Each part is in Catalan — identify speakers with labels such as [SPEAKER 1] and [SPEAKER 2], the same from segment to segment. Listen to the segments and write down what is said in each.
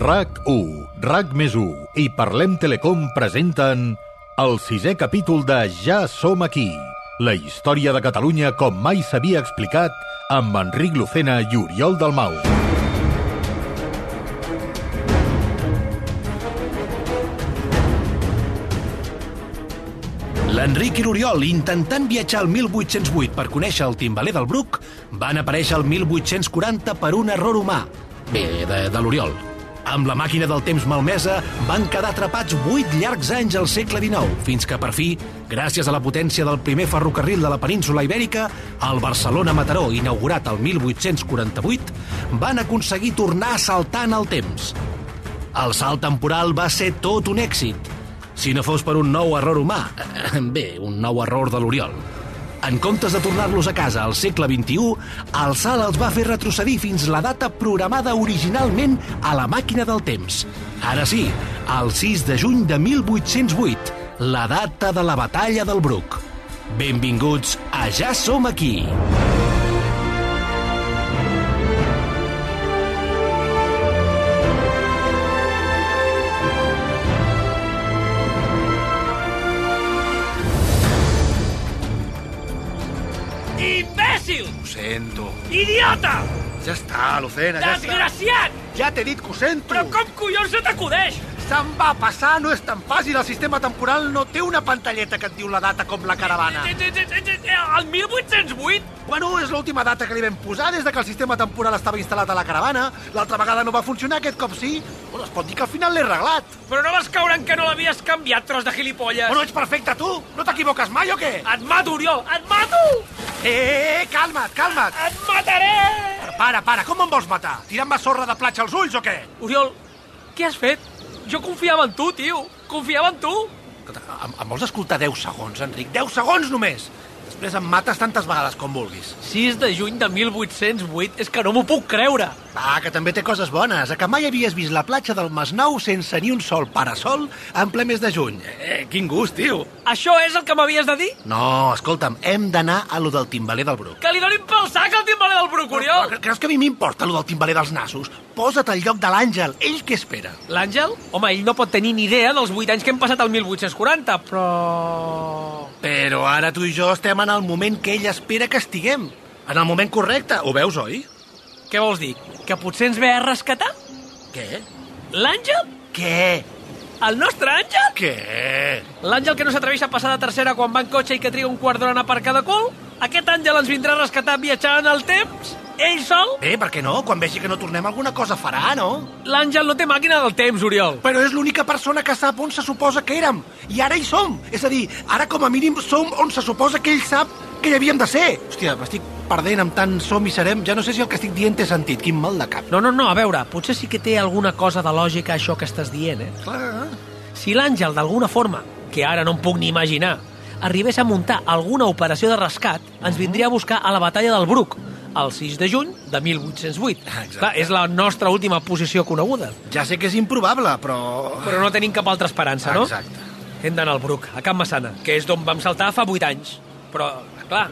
[SPEAKER 1] RAC1, RAC més 1 i Parlem Telecom presenten el sisè capítol de Ja som aquí, la història de Catalunya com mai s'havia explicat amb Enric Lucena i Oriol Dalmau.
[SPEAKER 2] L'Enric i l'Oriol, intentant viatjar al 1808 per conèixer el timbaler del Bruc, van aparèixer al 1840 per un error humà. Bé, de, de l'Oriol. Amb la màquina del temps malmesa, van quedar atrapats vuit llargs anys al segle XIX, fins que, per fi, gràcies a la potència del primer ferrocarril de la península Ibèrica, el Barcelona-Mataró, inaugurat el 1848, van aconseguir tornar a saltar en el temps. El salt temporal va ser tot un èxit, si no fos per un nou error humà. Bé, un nou error de l'Oriol. En comptes de tornar-los a casa al segle XXI, el salt els va fer retrocedir fins la data programada originalment a la màquina del temps. Ara sí, el 6 de juny de 1808, la data de la batalla del Bruc. Benvinguts a Ja som aquí!
[SPEAKER 3] ¡Imbécil!
[SPEAKER 4] Ho sento.
[SPEAKER 3] ¡Idiota!
[SPEAKER 4] Ja està, Lucena, ja està.
[SPEAKER 3] ¡Desgraciat!
[SPEAKER 4] Ja t'he dit que ho sento.
[SPEAKER 3] Però com collons se t'acudeix?
[SPEAKER 4] Se'n va passar, no és tan fàcil. El sistema temporal no té una pantalleta que et diu la data com la caravana.
[SPEAKER 3] Eh, eh, eh, eh, eh, El 1808?
[SPEAKER 4] Bueno, és l'última data que li vam posar des de que el sistema temporal estava instal·lat a la caravana. L'altra vegada no va funcionar, aquest cop sí. Bueno, es pot dir que al final l'he arreglat.
[SPEAKER 3] Però no vas caure en que no l'havies canviat, tros de gilipolles?
[SPEAKER 4] Bueno, ets perfecte, tu. No t'equivoques mai o què?
[SPEAKER 3] Et mato, Oriol! Et mato!
[SPEAKER 4] Eh, eh, calma't, calma't.
[SPEAKER 3] Et mataré!
[SPEAKER 4] Para, para, com em vols matar? Tirant-me sorra de platja als ulls o què?
[SPEAKER 3] Oriol, què has fet? Jo confiava en tu, tio. Confiava en tu.
[SPEAKER 4] Escolta, em, em vols escoltar 10 segons, Enric? 10 segons només! Després em mates tantes vegades com vulguis.
[SPEAKER 3] 6 de juny de 1808. És que no m'ho puc creure.
[SPEAKER 4] Ah, que també té coses bones. A que mai havies vist la platja del Masnou sense ni un sol parasol en ple mes de juny. Eh, quin gust, tio!
[SPEAKER 3] Això és el que m'havies de dir?
[SPEAKER 4] No, escolta'm, hem d'anar a lo del timbaler del Bruc.
[SPEAKER 3] Que li donin pel sac al timbaler del Bruc,
[SPEAKER 4] Però
[SPEAKER 3] Oriol!
[SPEAKER 4] cre- Creus que a mi m'importa lo del timbaler dels nassos? Posa't al lloc de l'Àngel. Ell què espera?
[SPEAKER 3] L'Àngel? Home, ell no pot tenir ni idea dels 8 anys que hem passat al 1840, però...
[SPEAKER 4] Però ara tu i jo estem en el moment que ell espera que estiguem. En el moment correcte. Ho veus, oi?
[SPEAKER 3] Què vols dir? Que potser ens ve a rescatar?
[SPEAKER 4] Què?
[SPEAKER 3] L'Àngel?
[SPEAKER 4] Què?
[SPEAKER 3] El nostre Àngel?
[SPEAKER 4] Què?
[SPEAKER 3] L'Àngel que no s'atreveix a passar de tercera quan va en cotxe i que triga un quart d'hora a anar per cada cul? Aquest Àngel ens vindrà a rescatar viatjant en el temps? Ell sol?
[SPEAKER 4] Bé, Eh, per què no? Quan vegi que no tornem alguna cosa farà, no?
[SPEAKER 3] L'Àngel no té màquina del temps, Oriol.
[SPEAKER 4] Però és l'única persona que sap on se suposa que érem. I ara hi som. És a dir, ara com a mínim som on se suposa que ell sap que hi havíem de ser. Hòstia, m'estic perdent amb tant som i serem. Ja no sé si el que estic dient té sentit. Quin mal de cap.
[SPEAKER 3] No, no, no, a veure, potser sí que té alguna cosa de lògica això que estàs dient, eh?
[SPEAKER 4] Clar.
[SPEAKER 3] Si l'Àngel, d'alguna forma, que ara no em puc ni imaginar, arribés a muntar alguna operació de rescat,
[SPEAKER 4] Mhm.
[SPEAKER 3] ens vindria a buscar a la batalla del Bruc, el 6 de juny de 1808.
[SPEAKER 4] Ah, Exacte.
[SPEAKER 3] Clar, és la nostra última posició coneguda.
[SPEAKER 4] Ja sé que és improbable, però...
[SPEAKER 3] Però no tenim cap altra esperança, no?
[SPEAKER 4] Exacte.
[SPEAKER 3] Hem d'anar al Bruc, a Camp Massana, que és d'on vam saltar fa 8 anys. Però, clar,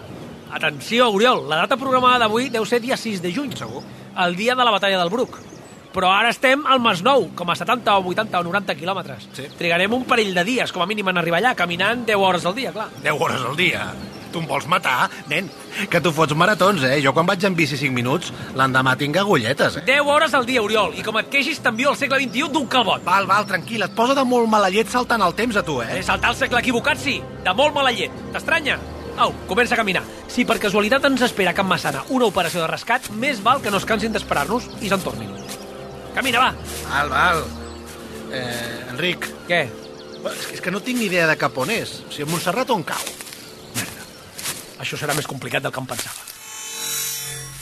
[SPEAKER 3] atenció, Oriol, la data programada d'avui deu ser dia 6 de juny.
[SPEAKER 4] Segur.
[SPEAKER 3] El dia de la batalla del Bruc. Però ara estem al Masnou, com a 70 o 80 o 90 quilòmetres.
[SPEAKER 4] Sí.
[SPEAKER 3] Trigarem un parell de dies, com a mínim, en arribar allà, caminant 10 hores al dia, clar.
[SPEAKER 4] 10 hores al dia. Tu em vols matar, nen? Que tu fots maratons, eh? Jo quan vaig en bici 5 minuts, l'endemà tinc agulletes, eh?
[SPEAKER 3] 10 hores al dia, Oriol, i com et queixis t'envio al segle XXI d'un calbot.
[SPEAKER 4] Val, val, tranquil, et posa de molt mala llet saltant el temps a tu, eh?
[SPEAKER 3] Eh, saltar al segle equivocat, sí, de molt mala llet. T'estranya? Au, comença a caminar. Si per casualitat ens espera a Can Massana una operació de rescat, més val que no es cansin d'esperar-nos i se'n tornin. Camina, va!
[SPEAKER 4] Val, val. Eh, Enric,
[SPEAKER 3] Què?
[SPEAKER 4] és que- és que no tinc ni idea de cap on és. O sigui, Montserrat on cau?
[SPEAKER 3] Això serà més complicat del que em pensava.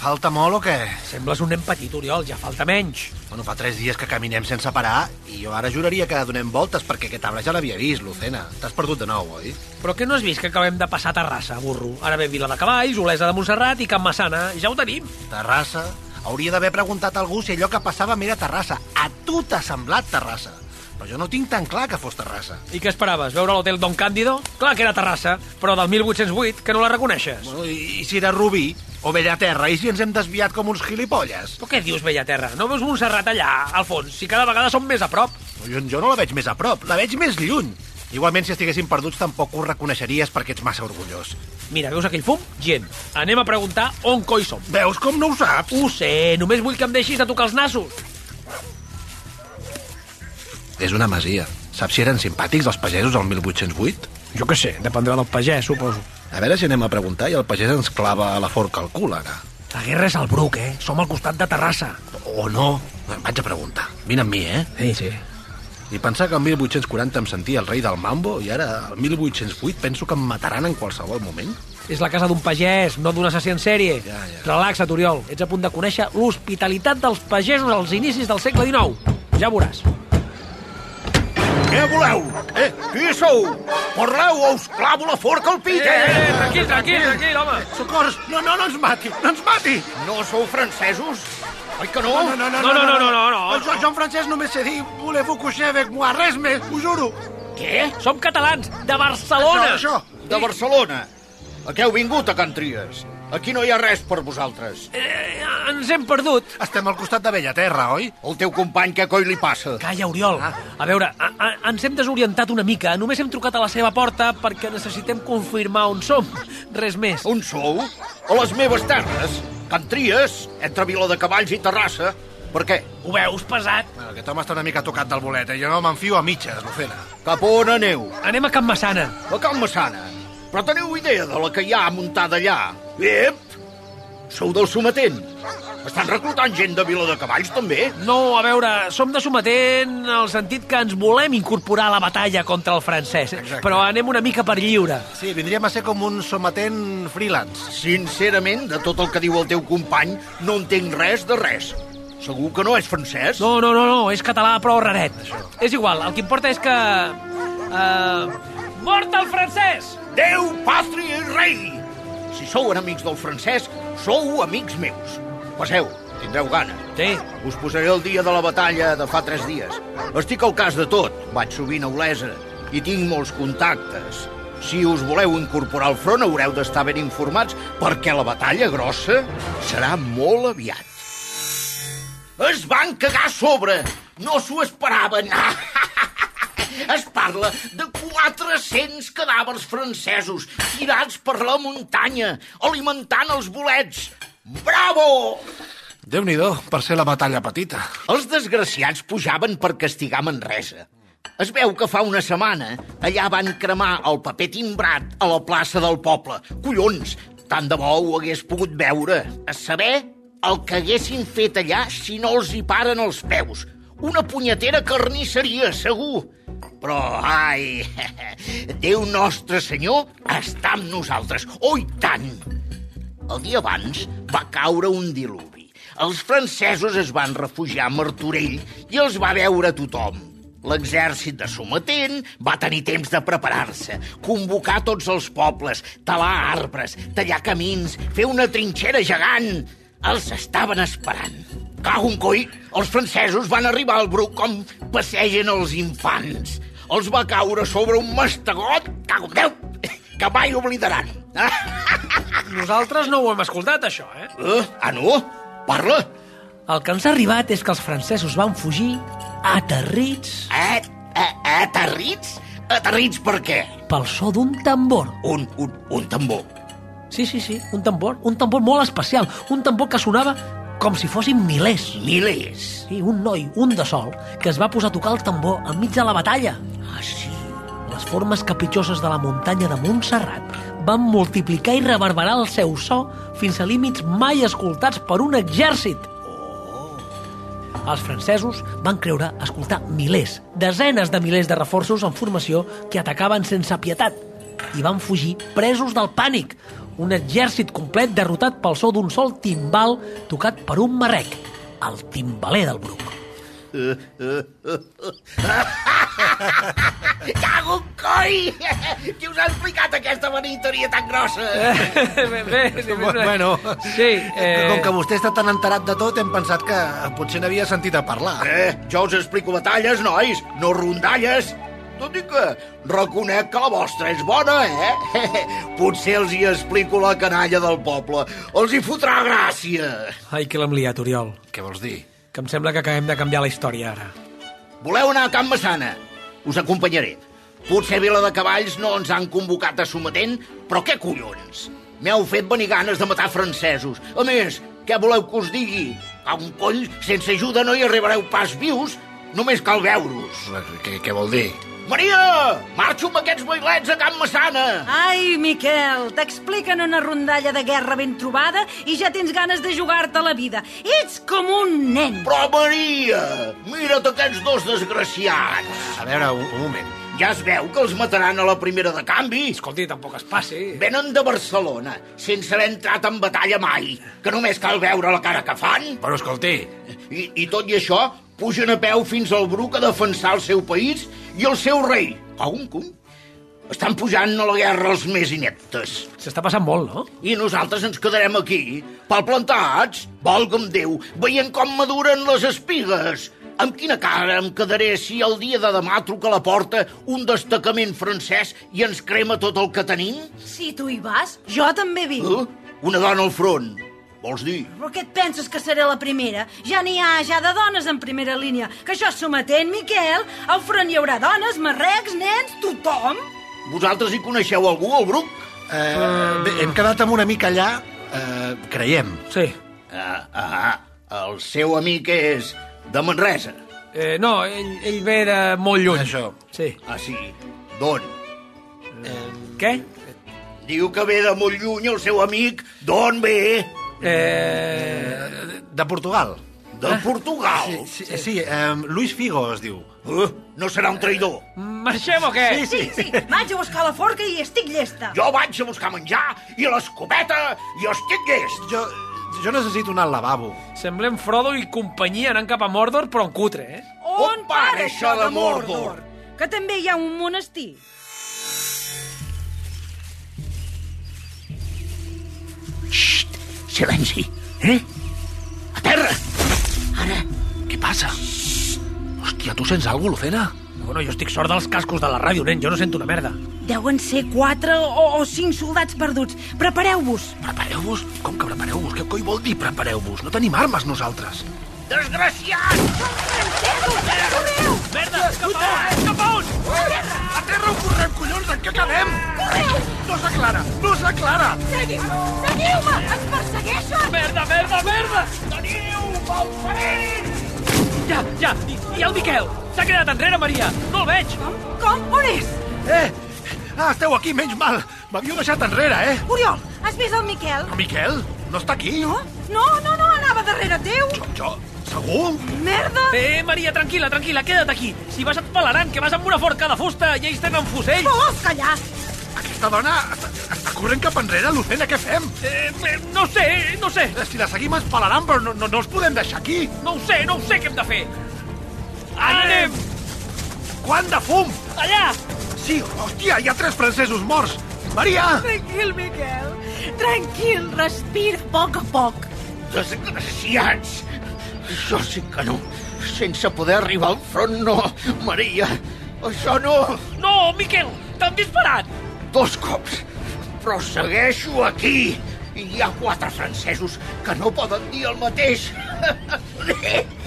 [SPEAKER 4] Falta molt o què?
[SPEAKER 3] Sembles un nen petit, Oriol, ja falta menys.
[SPEAKER 4] Bueno, fa tres dies que caminem sense parar i jo ara juraria que donem voltes perquè aquest arbre ja l'havia vist, Lucena. T'has perdut de nou, oi?
[SPEAKER 3] Però què no has vist que acabem de passar Terrassa, burro? Ara ve Vila de Cavalls, Olesa de Montserrat i Can Massana. Ja ho tenim.
[SPEAKER 4] Terrassa? Hauria d'haver preguntat a algú si allò que passava m'era Terrassa. A tu t'ha semblat Terrassa. Però jo no tinc tan clar que fos Terrassa.
[SPEAKER 3] I què esperaves, veure l'hotel Don Càndido? Clar que era Terrassa, però del 1808, que no la reconeixes.
[SPEAKER 4] Bueno, i, i si era Rubí? O Bellaterra, i si ens hem desviat com uns gilipolles?
[SPEAKER 3] Tu què dius, Bellaterra? No veus Montserrat allà, al fons? Si cada vegada som més a prop.
[SPEAKER 4] Jo, jo no la veig més a prop, la veig més lluny. Igualment, si estiguéssim perduts, tampoc ho reconeixeries perquè ets massa orgullós.
[SPEAKER 3] Mira, veus aquell fum? Gent. Anem a preguntar on coi som.
[SPEAKER 4] Veus com no ho saps?
[SPEAKER 3] Ho sé, només vull que em deixis de tocar els nassos.
[SPEAKER 4] És una masia. Saps si eren simpàtics els pagesos al 1808?
[SPEAKER 5] Jo què sé, dependrà del pagès, suposo.
[SPEAKER 4] A veure si anem a preguntar i el pagès ens clava a la forca al cul, ara.
[SPEAKER 3] La guerra és al Bruc, eh? Som al costat de Terrassa.
[SPEAKER 4] O no. Vaig a preguntar. Vine amb mi, eh?
[SPEAKER 3] Sí, sí.
[SPEAKER 4] I pensar que el 1840 em sentia el rei del mambo i ara, el 1808, penso que em mataran en qualsevol moment.
[SPEAKER 3] És la casa d'un pagès, no d'un assassí en sèrie.
[SPEAKER 4] Ja, ja.
[SPEAKER 3] Relaxa't, Oriol. Ets a punt de conèixer l'hospitalitat dels pagesos als inicis del segle XIX. Ja veuràs.
[SPEAKER 4] Què voleu? Eh, qui sou? Parleu o us clavo la forca al pit, eh?
[SPEAKER 6] Eh,
[SPEAKER 3] tranquil, tranquil, tranquil, home.
[SPEAKER 4] Socors, no, no, no ens mati, no ens mati!
[SPEAKER 6] No sou francesos? Oi que no?
[SPEAKER 4] no, no,
[SPEAKER 3] No, no, no, no, no, no.
[SPEAKER 4] Jo, jo en francès només sé dir voler coucher avec moi, res més, ho juro.
[SPEAKER 6] Què?
[SPEAKER 3] Som catalans, de Barcelona.
[SPEAKER 4] Això,
[SPEAKER 6] De Barcelona. A què heu vingut, a Can Tries? Aquí no hi ha res per vosaltres.
[SPEAKER 3] Eh, ens hem perdut.
[SPEAKER 4] això. Estem al costat de Bellaterra, oi? Ah.
[SPEAKER 6] El teu company, què coi li passa?
[SPEAKER 3] Calla, Oriol. A veure, a, a, ens hem desorientat una mica. Només hem trucat a la seva porta perquè necessitem confirmar on som. Res més.
[SPEAKER 6] On sou? A les meves terres? Can Tries? Entre Vila de Cavalls i Terrassa? Per què?
[SPEAKER 3] Ho veus, pesat?
[SPEAKER 4] Bueno, Ah, aquest home està una mica tocat del bolet, eh? Jo no m'enfio a mitges, Lucena.
[SPEAKER 6] Cap on aneu?
[SPEAKER 3] Anem a Can Massana.
[SPEAKER 6] A Can Massana. Però teniu idea de la que hi ha muntada allà? Ep! Sou del sometent. Estan reclutant gent de Vila de Cavalls, també?
[SPEAKER 3] No, a veure, som de sometent en el sentit que ens volem incorporar a la batalla contra el francès,
[SPEAKER 4] Exacte.
[SPEAKER 3] però anem una mica per lliure.
[SPEAKER 4] Sí, vindríem a ser com un sometent freelance.
[SPEAKER 6] Sincerament, de tot el que diu el teu company, no entenc res de res. Segur que no és francès?
[SPEAKER 3] No, no, no, no, és català però raret. És igual, el que importa és que... Uh, mort el francès!
[SPEAKER 6] Déu, pàtria i rei! Si sou enemics del francès, sou amics meus. Passeu, tindreu gana.
[SPEAKER 3] Sí,
[SPEAKER 6] Us posaré el dia de la batalla de fa tres dies. Estic al cas de tot. Vaig sovint a Olesa i tinc molts contactes. Si us voleu incorporar al front, haureu d'estar ben informats perquè la batalla grossa serà molt aviat. Es van cagar a sobre! No s'ho esperaven! Ah! Es parla de 400 cadàvers francesos tirats per la muntanya, alimentant els bolets. Bravo!
[SPEAKER 4] déu nhi per ser la batalla petita.
[SPEAKER 6] Els desgraciats pujaven per castigar Manresa. Es veu que fa una setmana allà van cremar el paper timbrat a la plaça del poble. Collons, tant de bo ho hagués pogut veure. A saber el que haguessin fet allà si no els hi paren els peus. Una punyetera carnisseria, segur. Però, ai, Déu nostre senyor està amb nosaltres. Oh, i tant! El dia abans va caure un diluvi. Els francesos es van refugiar a Martorell i els va veure tothom. L'exèrcit de Sometent va tenir temps de preparar-se, convocar tots els pobles, talar arbres, tallar camins, fer una trinxera gegant. Els estaven esperant. Cago un coi, els francesos van arribar al Bruc com passegen els infants. Els va caure sobre un mastegot, cago en Déu, que mai oblidaran.
[SPEAKER 3] nosaltres no ho hem escoltat, això, eh?
[SPEAKER 6] Eh? Ah, no? Parla?
[SPEAKER 3] El que ens ha arribat és que els francesos van fugir aterrits
[SPEAKER 6] Eh, eh, aterrits? Aterrits per què?
[SPEAKER 3] pel so d'un tambor.
[SPEAKER 6] Un, un, un tambor.
[SPEAKER 3] Sí, sí, sí, un tambor, un tambor molt especial, un tambor que sonava com si fossin milers.
[SPEAKER 6] Milers.
[SPEAKER 3] Sí, un noi, un de sol, que es va posar a tocar el tambor enmig de la batalla.
[SPEAKER 6] Ah, sí?
[SPEAKER 3] Les formes capritxoses de la muntanya de Montserrat van multiplicar i reverberar el seu so fins a límits mai escoltats per un exèrcit. Els francesos van creure escoltar milers, desenes de milers de reforços en formació que atacaven sense pietat i van fugir presos del pànic. Un exèrcit complet derrotat pel so d'un sol timbal tocat per un marrec, el timbaler del Bruc.
[SPEAKER 6] Cago en coi! Qui us ha explicat aquesta vaniteria tan grossa?
[SPEAKER 3] bé, bé, sí,
[SPEAKER 4] Bueno,
[SPEAKER 3] sí,
[SPEAKER 4] eh... com que vostè està tan enterat de tot, hem pensat que potser n'havia sentit a parlar.
[SPEAKER 6] Eh, jo us explico batalles, nois, no rondalles. tot i que reconec que la vostra és bona, eh? Potser els hi explico la canalla del poble. Els hi fotrà gràcia.
[SPEAKER 3] Ai, que l'hem liat, Oriol.
[SPEAKER 5] Què vols dir?
[SPEAKER 3] Que em sembla que acabem de canviar la història, ara.
[SPEAKER 6] Voleu anar a Can Massana? Us acompanyaré. Potser Vila de Cavalls no ens han convocat a sometent, però què collons? M'heu fet venir ganes de matar francesos. A més, què voleu que us digui? A un coll, sense ajuda no hi arribareu pas vius, només cal veure-us.
[SPEAKER 5] Què, què vol dir?
[SPEAKER 6] Maria, marxo amb aquests boilets a Can Massana.
[SPEAKER 7] Ai, Miquel, t'expliquen una rondalla de guerra ben trobada i ja tens ganes de jugar-te la vida. Ets com un nen.
[SPEAKER 6] Però, Maria, mira't aquests dos desgraciats.
[SPEAKER 5] A veure, un, un moment.
[SPEAKER 6] Ja es veu que els mataran a la primera de canvi.
[SPEAKER 3] Escolti, tampoc es passi.
[SPEAKER 6] Venen de Barcelona, sense haver entrat en batalla mai, que només cal veure la cara que fan.
[SPEAKER 5] Bueno, escolti,
[SPEAKER 6] I, i tot i això, pugen a peu fins al Bruc a defensar el seu país i el seu rei. A un cony. Estan pujant a la guerra els més ineptes.
[SPEAKER 3] S'està passant molt, no?
[SPEAKER 6] I nosaltres ens quedarem aquí, palplantats, volga'm Déu, veient com maduren les espigues. Amb quina cara em quedaré si el dia de demà truca a la porta un destacament francès i ens crema tot el que tenim?
[SPEAKER 7] Si tu hi vas, jo també vinc.
[SPEAKER 6] Eh? Una dona al front, vols dir?
[SPEAKER 7] Però què et penses que seré la primera? Ja n'hi ha ja de dones en primera línia. Que això és sometent, Miquel. Al front hi haurà dones, marrecs, nens, tothom.
[SPEAKER 6] Vosaltres hi coneixeu algú, al Bruc?
[SPEAKER 8] Eh, bé, hem quedat amb una mica allà, eh, creiem.
[SPEAKER 3] Sí.
[SPEAKER 6] Ah, ah, el seu amic és de Manresa.
[SPEAKER 3] Eh, no, ell, ell ve de molt lluny.
[SPEAKER 8] Això.
[SPEAKER 3] Sí. Eh,
[SPEAKER 6] Ah, sí, d'on?
[SPEAKER 3] Què?
[SPEAKER 6] Diu que ve de molt lluny el seu amic, d'on ve?
[SPEAKER 3] Eh...
[SPEAKER 8] De Portugal.
[SPEAKER 6] De Portugal.
[SPEAKER 8] Sí, sí, sí eh, Luis Figo es diu.
[SPEAKER 6] Eh? No serà un traïdor.
[SPEAKER 3] Eh, Marxem o què? Sí,
[SPEAKER 7] Sí, sí, vaig a buscar la forca i estic llesta.
[SPEAKER 6] Jo vaig a buscar menjar i l'escopeta i estic llest.
[SPEAKER 8] Jo, jo necessito anar al lavabo.
[SPEAKER 3] Semblem Frodo i companyia anant cap a Mordor, però en cutre, eh?
[SPEAKER 6] On para això de Mordor?
[SPEAKER 7] Que també hi ha un monestir.
[SPEAKER 6] Xxt, silenci. Eh? A terra.
[SPEAKER 5] què passa? Hòstia, tu sents alguna cosa, Lucena?
[SPEAKER 3] Bueno, jo estic sort dels cascos de la ràdio, nen, jo no sento una merda.
[SPEAKER 7] Deuen ser quatre o, o cinc soldats perduts. Prepareu-vos.
[SPEAKER 5] Prepareu-vos? Com que prepareu-vos? Què coi vol dir prepareu-vos? No tenim armes nosaltres.
[SPEAKER 6] Desgraciat!
[SPEAKER 3] Merda, cap a on? Cap a on?
[SPEAKER 5] A terra ho correm, collons! En què quedem? Correu! No s'aclara! No s'aclara!
[SPEAKER 3] Merda, merda, merda! Ja, ja, i, i el Miquel? S'ha quedat enrere, Maria! No el veig!
[SPEAKER 7] Com? On és?
[SPEAKER 5] Eh! Ah, esteu aquí, menys mal! M'havíeu deixat enrere, eh?
[SPEAKER 7] Oriol, has vist el Miquel?
[SPEAKER 5] Miquel, no està aquí?
[SPEAKER 7] No? No, no, no, anava darrere teu.
[SPEAKER 5] Jo? Segur?
[SPEAKER 7] Merda!
[SPEAKER 3] Eh, Maria, tranquil·la, tranquil·la, queda't aquí. Si vas et pelaran, que vas amb una forca de fusta i ells tenen fusell.
[SPEAKER 7] Vols callar?
[SPEAKER 5] Aquesta dona està, està corrent cap enrere, Lucena, què fem? Eh,
[SPEAKER 3] Eh, eh, no sé, no sé,
[SPEAKER 5] Si la seguim ens pelaran, però no, no, no els podem deixar aquí.
[SPEAKER 3] no ho sé, no ho sé què hem de fer. Anem!
[SPEAKER 5] Quant de fum!
[SPEAKER 3] Allà!
[SPEAKER 5] Sí, hòstia, hi ha tres francesos morts. Maria!
[SPEAKER 7] Tranquil, Miquel. Tranquil, respira a poc a poc.
[SPEAKER 6] Desgraciats! Això sí que no. Sense poder arribar al front, no. Maria, això no.
[SPEAKER 3] No, Miquel, t'han disparat!
[SPEAKER 6] Dos cops. Però segueixo aquí. I hi ha quatre francesos que no poden dir el mateix.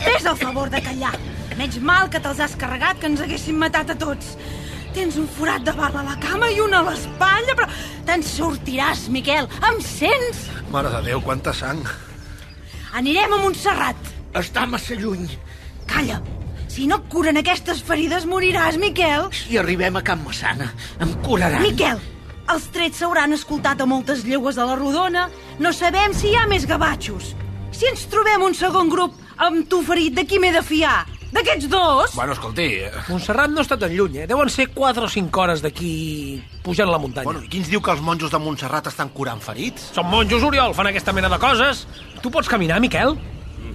[SPEAKER 7] Fes el favor de callar. Menys mal que te'ls has carregat que ens haguessin matat a tots. Tens un forat de bala a la cama i una a l'espatlla, però te'n sortiràs, Miquel. Em sents?
[SPEAKER 5] Mare de Déu, quanta sang.
[SPEAKER 7] Anirem a Montserrat.
[SPEAKER 6] Està massa lluny.
[SPEAKER 7] Calla. Si no et curen aquestes ferides, moriràs, Miquel.
[SPEAKER 6] Si arribem a Can Massana, em curaran.
[SPEAKER 7] Miquel, els trets s'hauran escoltat a moltes llegües a la rodona. No sabem si hi ha més gavatxos. Si ens trobem un segon grup amb tu ferit, de qui m'he de fiar? D'aquests dos?
[SPEAKER 5] Bueno, escolti... eh,
[SPEAKER 3] Montserrat no està tan lluny, eh? Deuen ser 4 o 5 hores d'aquí pujant la muntanya.
[SPEAKER 8] Bueno, i qui ens diu que els monjos de Montserrat estan curant ferits?
[SPEAKER 3] Són monjos, Oriol, fan aquesta mena de coses. Tu pots caminar, Miquel?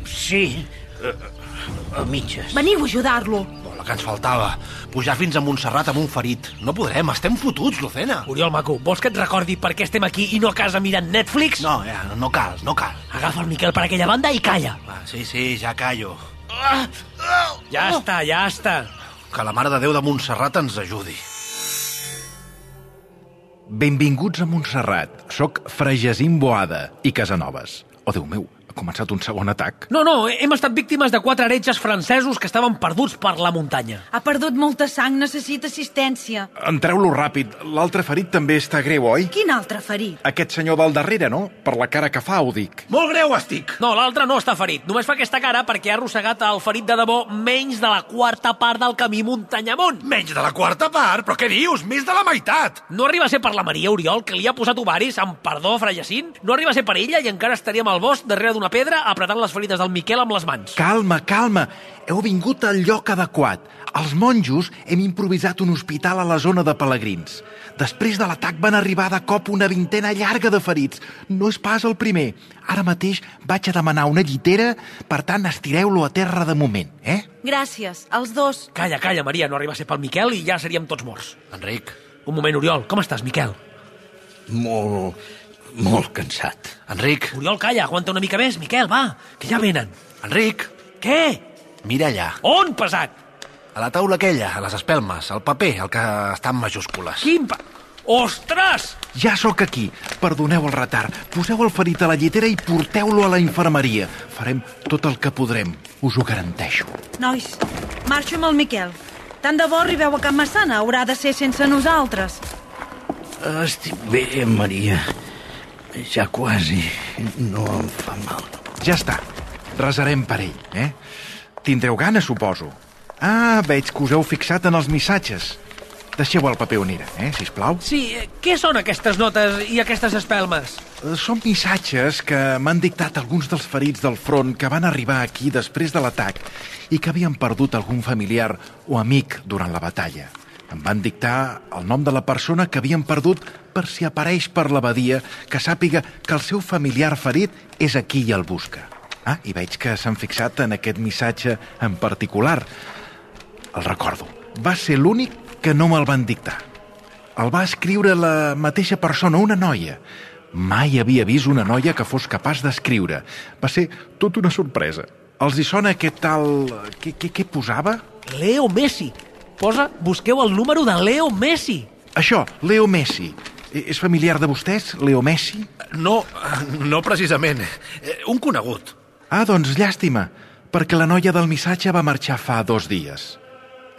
[SPEAKER 6] Sí, a, a mitges.
[SPEAKER 7] Veniu a ajudar-lo.
[SPEAKER 8] Bon, la que ens faltava. Pujar fins a Montserrat amb un ferit. No podrem, estem fotuts, Lucena.
[SPEAKER 3] Oriol, maco, vols que et recordi per què estem aquí i no a casa mirant Netflix?
[SPEAKER 8] No, ja, no cal, no cal.
[SPEAKER 3] Agafa el Miquel per aquella banda i calla.
[SPEAKER 8] Va, sí, sí, ja callo.
[SPEAKER 3] Ja està, ja està.
[SPEAKER 4] Que la Mare de Déu de Montserrat ens ajudi.
[SPEAKER 9] Benvinguts a Montserrat. Soc Fregesim Boada i Casanovas. Oh, Déu meu, ha començat un segon atac.
[SPEAKER 3] No, no, hem estat víctimes de quatre heretges francesos que estaven perduts per la muntanya.
[SPEAKER 7] Ha perdut molta sang, necessita assistència.
[SPEAKER 9] Entreu-lo ràpid. L'altre ferit també està greu, oi?
[SPEAKER 7] Quin altre ferit?
[SPEAKER 9] Aquest senyor del darrere, no? Per la cara que fa, ho dic.
[SPEAKER 4] Molt greu estic!
[SPEAKER 3] No, l'altre no està ferit. Només fa aquesta cara perquè ha arrossegat el ferit de debò menys de la quarta part del camí muntanya amunt.
[SPEAKER 4] Menys de la quarta part? Però què dius? Més de la meitat!
[SPEAKER 3] No arriba a ser per la Maria Oriol, que li ha posat ovaris, amb perdó, fra Jacint? No arriba a ser per ella i encara estaríem al bosc darrere d'una pedra apretant les ferides del Miquel amb les mans.
[SPEAKER 9] Calma, calma. Heu vingut al lloc adequat. Els monjos hem improvisat un hospital a la zona de pelegrins. Després de l'atac van arribar de cop una vintena llarga de ferits. No és pas el primer. Ara mateix vaig a demanar una llitera, per tant, estireu-lo a terra de moment, eh?
[SPEAKER 7] Gràcies, els dos.
[SPEAKER 3] Calla, calla, Maria, no arriba a ser pel Miquel i ja seríem tots morts.
[SPEAKER 2] Enric,
[SPEAKER 3] Un moment, Oriol, com estàs, Miquel?
[SPEAKER 6] Molt, molt cansat.
[SPEAKER 2] Enric,
[SPEAKER 3] Oriol, calla, aguanta una mica més, Miquel, va, que ja venen.
[SPEAKER 2] Enric,
[SPEAKER 3] Què?
[SPEAKER 2] mira allà.
[SPEAKER 3] On, pesat?
[SPEAKER 2] A la taula aquella, a les espelmes, al paper, el que està en majúscules.
[SPEAKER 3] Quin pa... Ostres!
[SPEAKER 9] Ja sóc aquí. Perdoneu el retard. Poseu el ferit a la llitera i porteu-lo a la infermeria. Farem tot el que podrem. Us ho garanteixo.
[SPEAKER 7] Nois, marxo amb el Miquel. Tant de bo arribeu a Can Massana, haurà de ser sense nosaltres.
[SPEAKER 6] Estic bé, Maria. Ja quasi. No em fa mal.
[SPEAKER 9] Ja està. Resarem per ell, eh? Tindreu gana, suposo. Ah, veig que us heu fixat en els missatges. Deixeu el paper on era, eh, sisplau.
[SPEAKER 3] Sí, eh, què són aquestes notes i aquestes espelmes?
[SPEAKER 9] Eh, Són missatges que m'han dictat alguns dels ferits del front que van arribar aquí després de l'atac i que havien perdut algun familiar o amic durant la batalla. Em van dictar el nom de la persona que havien perdut per si apareix per l'abadia que sàpiga que el seu familiar ferit és aquí i el busca. Ah, i veig que s'han fixat en aquest missatge en particular. El recordo. Va ser l'únic que no me'l van dictar. El va escriure la mateixa persona, una noia. Mai havia vist una noia que fos capaç d'escriure. Va ser tot una sorpresa. Els hi sona aquest tal... Què, què, què posava?
[SPEAKER 3] Leo Messi. Posa, busqueu el número de Leo Messi.
[SPEAKER 9] Això, Leo Messi. E- És familiar de vostès, Leo Messi?
[SPEAKER 2] No, no precisament. Eh, Un conegut.
[SPEAKER 9] Ah, doncs llàstima, perquè la noia del missatge va marxar fa dos dies.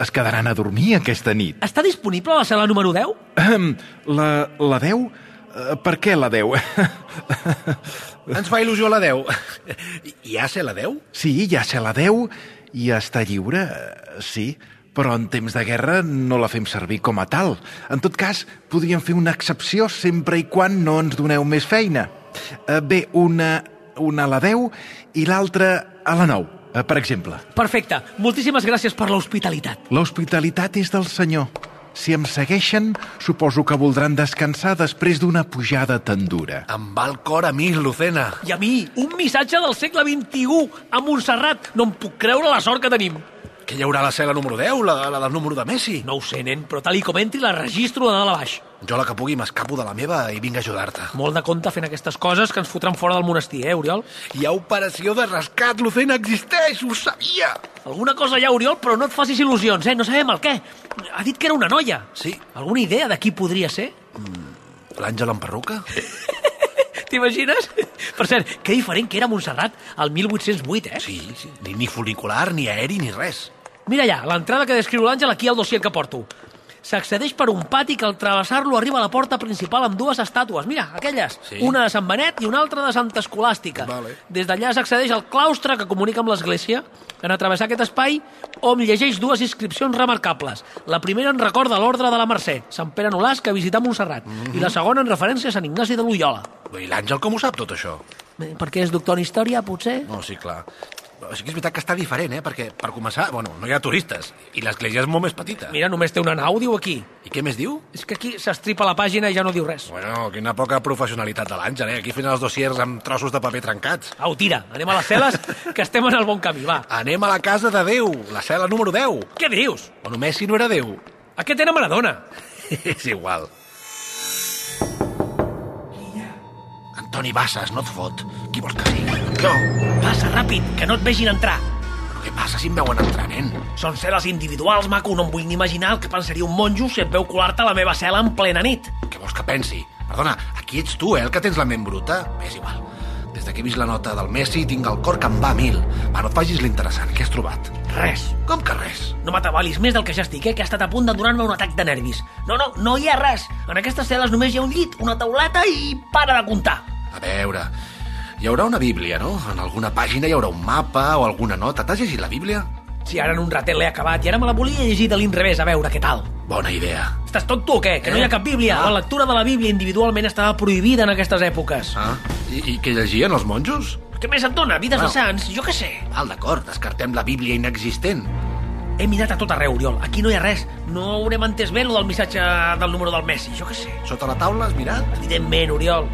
[SPEAKER 9] Es quedaran a dormir aquesta nit.
[SPEAKER 3] Està disponible a la sala número 10?
[SPEAKER 9] Ahem, La, la deu? Eh, Per què la deu?
[SPEAKER 2] Ens fa il·lusió la 10. Ja sé la 10?
[SPEAKER 9] Sí, ja se la deu i està lliure, eh, sí, però en temps de guerra no la fem servir com a tal. En tot cas, podríem fer una excepció sempre i quan no ens doneu més feina. Eh, Bé, una, una a la 10 i l'altra a la 9, eh, per exemple.
[SPEAKER 3] Perfecte. Moltíssimes gràcies per l'hospitalitat.
[SPEAKER 9] L'hospitalitat és del senyor. Si em segueixen, suposo que voldran descansar després d'una pujada tan dura.
[SPEAKER 2] Em va el cor a mi, Lucena.
[SPEAKER 3] I a mi, un missatge del segle XXI a Montserrat. No em puc creure la sort que tenim.
[SPEAKER 2] Que hi haurà la cel·la número 10, la, la del número de Messi.
[SPEAKER 3] No ho sé, nen, però tal i com entri la registro de dalt a baix.
[SPEAKER 2] Jo la que pugui m'escapo de la meva i vinc a ajudar-te.
[SPEAKER 3] Molt de compte fent aquestes coses que ens fotran fora del monestir, eh, Oriol?
[SPEAKER 2] Hi ha operació de rescat, Lucena existeix, ho sabia!
[SPEAKER 3] Alguna cosa hi ha, Oriol, però no et facis il·lusions, eh? No sabem el què. Ha dit que era una noia.
[SPEAKER 2] Sí.
[SPEAKER 3] Alguna idea de qui podria ser?
[SPEAKER 2] L'Àngel en perruca?
[SPEAKER 3] T'imagines? Per cert, que diferent que era Montserrat al 1808, eh?
[SPEAKER 2] Sí, sí. Ni, ni funicular, ni aeri, ni res.
[SPEAKER 3] Mira allà, l'entrada que descriu l'Àngel, aquí al dossier que porto. S'accedeix per un pati que al travessar-lo arriba a la porta principal amb dues estàtues. Mira, aquelles.
[SPEAKER 2] Sí.
[SPEAKER 3] Una de Sant Benet i una altra de Santa Escolàstica.
[SPEAKER 2] Vale.
[SPEAKER 3] Des d'allà s'accedeix al claustre que comunica amb l'església. En atravessar aquest espai, hom llegeix dues inscripcions remarcables. La primera en recorda l'ordre de la Mercè, Sant Pere Nolàs, que visità Montserrat.
[SPEAKER 2] Mhm.
[SPEAKER 3] I la segona en referència a Sant Ignasi de Loyola.
[SPEAKER 2] I l'Àngel com ho sap, tot això?
[SPEAKER 3] Eh, Perquè és doctor en història, potser?
[SPEAKER 2] No, sí, clar. Però sí que és veritat que està diferent, eh? Perquè, per començar, bueno, no hi ha turistes. I l'església és molt més petita.
[SPEAKER 3] Mira, només té una nau, diu aquí.
[SPEAKER 2] I què més diu?
[SPEAKER 3] És que aquí s'estripa la pàgina i ja no diu res.
[SPEAKER 2] Bueno, quina poca professionalitat de l'Àngel, eh? Aquí fent els dossiers amb trossos de paper trencats.
[SPEAKER 3] Au, tira, anem a les cel·les, que estem en el bon camí, va.
[SPEAKER 2] Anem a la casa de Déu, la cel·la número 10.
[SPEAKER 3] Què dius?
[SPEAKER 2] Bueno, Messi no era Déu.
[SPEAKER 3] A què tenen Maradona?
[SPEAKER 2] és igual. Antoni Bassas, no et fot. Qui vols que sigui? No.
[SPEAKER 3] Passa, ràpid, que no et vegin entrar.
[SPEAKER 2] Però
[SPEAKER 4] Què passa si em veuen entrar, nen?
[SPEAKER 3] Són cel·les individuals, maco, no em vull ni imaginar el que pensaria un monjo si et veu colar-te a la meva cel·la en plena nit.
[SPEAKER 4] Què vols que pensi? Perdona, aquí ets tu, eh, el que tens la ment bruta. Bé, És igual. Des de que he vist la nota del Messi, tinc el cor que em va a mil. Va, no et facis l'interessant. Què has trobat?
[SPEAKER 3] Res.
[SPEAKER 4] Com que res?
[SPEAKER 3] No m'atabalis més del que ja estic, eh, que ha estat a punt de donar-me un atac de nervis. No, no, no hi ha res. En aquestes cel·les només hi ha un llit, una tauleta i para de comptar.
[SPEAKER 4] A veure... Hi haurà una Bíblia, no? En alguna pàgina hi haurà un mapa o alguna nota. T'has llegit la Bíblia?
[SPEAKER 3] Si ara en un ratet l'he acabat i ara me la volia llegir de l'inrevés, a veure què tal.
[SPEAKER 4] Bona idea.
[SPEAKER 3] Estàs tot tu o què? Que no hi ha cap Bíblia.
[SPEAKER 4] Ah.
[SPEAKER 3] La lectura de la Bíblia individualment estava prohibida en aquestes èpoques.
[SPEAKER 4] Ah, i, i què llegien els monjos?
[SPEAKER 3] Què més et dona? Vides
[SPEAKER 4] Bueno.
[SPEAKER 3] de sants? Jo què sé.
[SPEAKER 4] Val, d'acord, descartem la Bíblia inexistent.
[SPEAKER 3] He mirat a tot arreu, Oriol. Aquí no hi ha res. No haurem entès bé el del missatge del número del Messi. Jo què sé.
[SPEAKER 4] Sota la taula has mirat?
[SPEAKER 3] Evidentment, Oriol.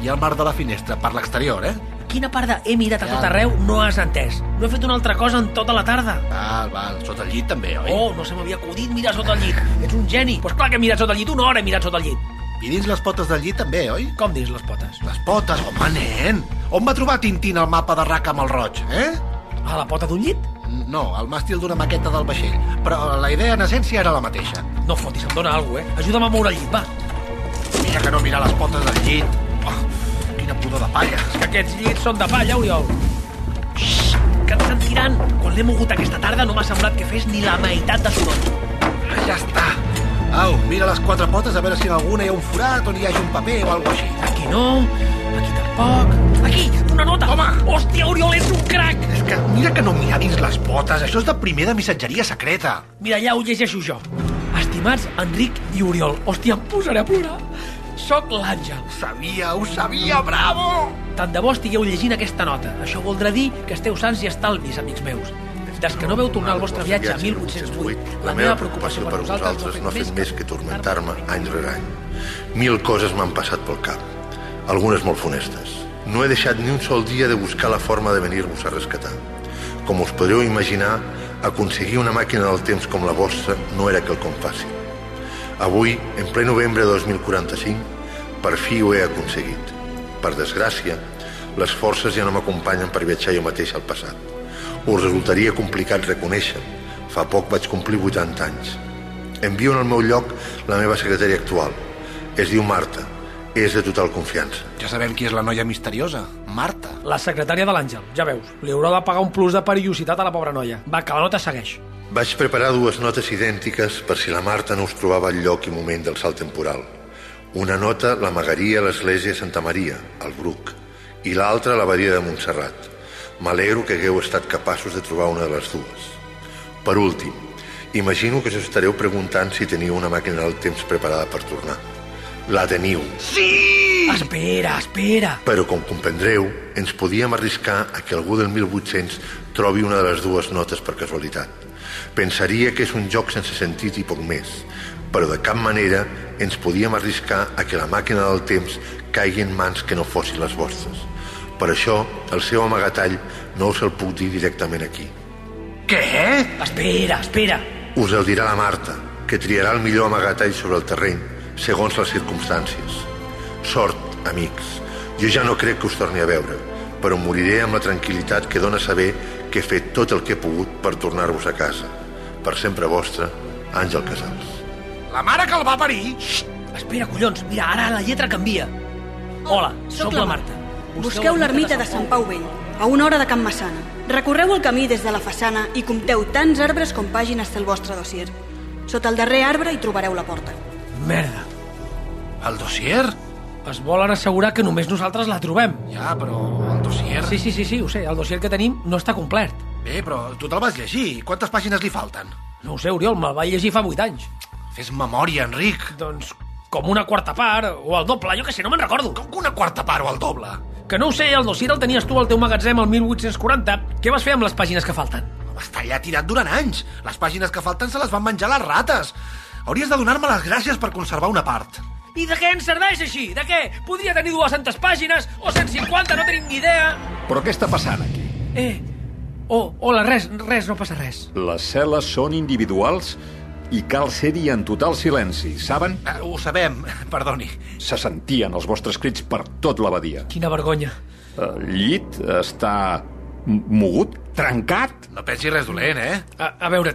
[SPEAKER 4] Hi ha el mar de la finestra, per l'exterior, eh?
[SPEAKER 3] Quina part de he mirat a
[SPEAKER 4] Ja.
[SPEAKER 3] tot arreu no has entès? No he fet una altra cosa en tota la tarda.
[SPEAKER 4] Val, val, sota el llit també, oi?
[SPEAKER 3] Oh, no se m'havia acudit mirar sota el llit. Ets un geni. Pues clar que he mirat sota el llit. Una hora he mirat sota el llit.
[SPEAKER 4] I dins les potes del llit també, oi?
[SPEAKER 3] Com dins les potes?
[SPEAKER 4] Les potes, home, nen! On va trobar Tintín el mapa de Raca amb el roig, eh?
[SPEAKER 3] A la pota d'un llit?
[SPEAKER 4] No, el màstil d'una maqueta del vaixell. Però la idea, en essència, era la mateixa.
[SPEAKER 3] No fotis, em dóna alguna cosa, eh? Ajuda'm a moure el llit, va.
[SPEAKER 4] Mira que no mirar les potes del llit. Oh, quina pudor de palla.
[SPEAKER 3] Que aquests llits són de palla, Oriol. Xxxt, que et sentiran. Quan l'he mogut aquesta tarda no m'ha semblat que fes ni la meitat de soroll.
[SPEAKER 4] Ah, Ja està. Au, mira les quatre potes a veure si en alguna hi ha un forat on hi hagi un paper o alguna així.
[SPEAKER 3] Aquí no, aquí tampoc. Aquí, una nota. Home! Hòstia, Oriol, ets un crac.
[SPEAKER 4] És que mira que no mirar dins les potes. Això és de primer de missatgeria secreta.
[SPEAKER 3] Mira, ja ho llegeixo jo. Estimats Enric i Oriol, hòstia, em posaré a plorar. Soc l'Àngel.
[SPEAKER 4] Ho sabia, ho sabia, bravo!
[SPEAKER 3] Tant de bo estigueu llegint aquesta nota. Això voldrà dir que esteu sants i estalvis, amics meus. Des que no veu tornar al vostre viatge a 1808, la meva preocupació per vosaltres
[SPEAKER 10] no ha fet més que tormentar-me any rere any. Mil coses m'han passat pel cap, algunes molt funestes. No he deixat ni un sol dia de buscar la forma de venir-vos a rescatar. Com us podreu imaginar, aconseguir una màquina del temps com la vostra no era quelcom fàcil. Avui, en ple novembre de 2045, per fi ho he aconseguit. Per desgràcia, les forces ja no m'acompanyen per viatjar jo mateix al passat. Us resultaria complicat reconèixer. Fa poc vaig complir 80 anys. Envio en el meu lloc la meva secretària actual. Es diu Marta. És de total confiança.
[SPEAKER 4] Ja sabem qui és la noia misteriosa, Marta.
[SPEAKER 3] La secretària de l'Àngel, ja veus, li haurà de pagar un plus de perillositat a la pobra noia. Va, que la nota segueix.
[SPEAKER 10] Vaig preparar dues notes idèntiques per si la Marta no us trobava el lloc i moment del salt temporal. Una nota l'amagaria a l'església de Santa Maria, al Bruc, i l'altra a l'abadia de Montserrat. M'alegro que hagueu estat capaços de trobar una de les dues. Per últim, imagino que us estareu preguntant si teniu una màquina del temps preparada per tornar. La teniu,
[SPEAKER 3] Espera, espera.
[SPEAKER 10] però com comprendreu, ens podíem arriscar a que algú del 1800 trobi una de les dues notes per casualitat. Pensaria que és un joc sense sentit i poc més, però de cap manera ens podíem arriscar a que la màquina del temps caigui en mans que no fossin les vostres. Per això, el seu amagatall no us el puc dir directament aquí.
[SPEAKER 4] Què?
[SPEAKER 3] Espera, espera.
[SPEAKER 10] Us el dirà la Marta, que triarà el millor amagatall sobre el terreny, segons les circumstàncies. Sort, amics. Jo ja no crec que us torni a veure, però moriré amb la tranquil·litat que dóna saber que he fet tot el que he pogut per tornar-vos a casa. Per sempre vostre, Àngel Casals.
[SPEAKER 4] La mare que el va parir?
[SPEAKER 3] Espera, collons, mira, ara la lletra canvia.
[SPEAKER 11] Oh,
[SPEAKER 3] Hola, sóc la Marta.
[SPEAKER 11] Busqueu l'ermita de Sant Pau Vell, a una hora de Can Massana. Recorreu el camí des de la façana i compteu tants arbres com pàgines té el vostre dossier. Sota el darrer arbre hi trobareu la porta.
[SPEAKER 3] Merda.
[SPEAKER 4] El dossier?
[SPEAKER 3] Es volen assegurar que només nosaltres la trobem.
[SPEAKER 4] Ja, però el dossier...
[SPEAKER 3] Sí, sí, sí, sí, ho sé, el dossier que tenim no està complert.
[SPEAKER 4] Bé, però tu te'l vas llegir. Quantes pàgines li falten?
[SPEAKER 3] No ho sé, Oriol, me'l va llegir fa 8 anys.
[SPEAKER 4] Fes memòria, Enric.
[SPEAKER 3] Doncs com una quarta part, o el doble, jo que sé, no me'n recordo.
[SPEAKER 4] Com que una quarta part o el doble?
[SPEAKER 3] Que no ho sé, el dossier el tenies tu al teu magatzem el 1840. Què vas fer amb les pàgines que falten?
[SPEAKER 4] Està allà tirat durant anys. Les pàgines que falten se les van menjar les rates. Hauries de donar-me les gràcies per conservar una part.
[SPEAKER 3] I de què ens serveix així? De què? Podria tenir 200 pàgines o 150, no tenim ni idea.
[SPEAKER 12] Però què està passant aquí?
[SPEAKER 3] Eh, oh, hola, res, res, no passa res.
[SPEAKER 12] Les cel·les són individuals i cal ser-hi en total silenci, saben?
[SPEAKER 4] Eh, ho sabem, perdoni.
[SPEAKER 12] Se sentien els vostres crits per tot l'abadia.
[SPEAKER 3] Quina vergonya.
[SPEAKER 12] El llit està m- mogut Trencat?
[SPEAKER 2] No pensis res dolent, eh?
[SPEAKER 3] A, a veure,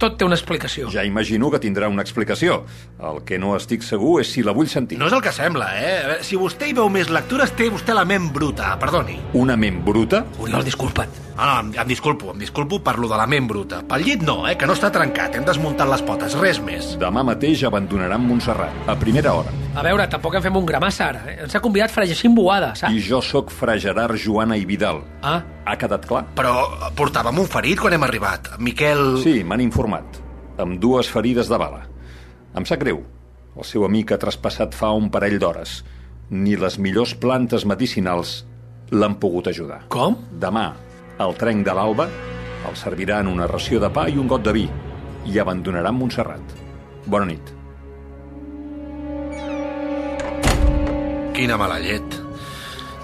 [SPEAKER 3] tot té una explicació.
[SPEAKER 12] Ja imagino que tindrà una explicació. El que no estic segur és si la vull sentir.
[SPEAKER 2] No és el que sembla, eh? A veure, Si vostè hi veu més lectures, té vostè la ment bruta, perdoni.
[SPEAKER 12] Una ment bruta?
[SPEAKER 3] Oriol, disculpa't.
[SPEAKER 2] Ah, no, em, em disculpo, em disculpo per lo de la ment bruta. Pel llit no, eh? Que no està trencat, hem desmuntat les potes, res més.
[SPEAKER 12] Demà mateix abandonaran Montserrat, a primera hora.
[SPEAKER 3] A veure, tampoc en fem un gramassa ara. eh? Ens ha convidat Fra Jacint Boada, saps?
[SPEAKER 12] I jo sóc fra Gerard Joana i Vidal.
[SPEAKER 3] Ah,
[SPEAKER 12] Ha quedat clar?
[SPEAKER 2] Però eh, portàvem un ferit quan hem arribat. Miquel...
[SPEAKER 12] Sí, m'han informat. Amb dues ferides de bala. Em sap greu. El seu amic ha traspassat fa un parell d'hores. Ni les millors plantes medicinals l'han pogut ajudar.
[SPEAKER 3] com?
[SPEAKER 12] Demà, el trenc de l'alba el serviran una ració de pa i un got de vi i abandonaran Montserrat. Bona nit.
[SPEAKER 2] Quina mala llet.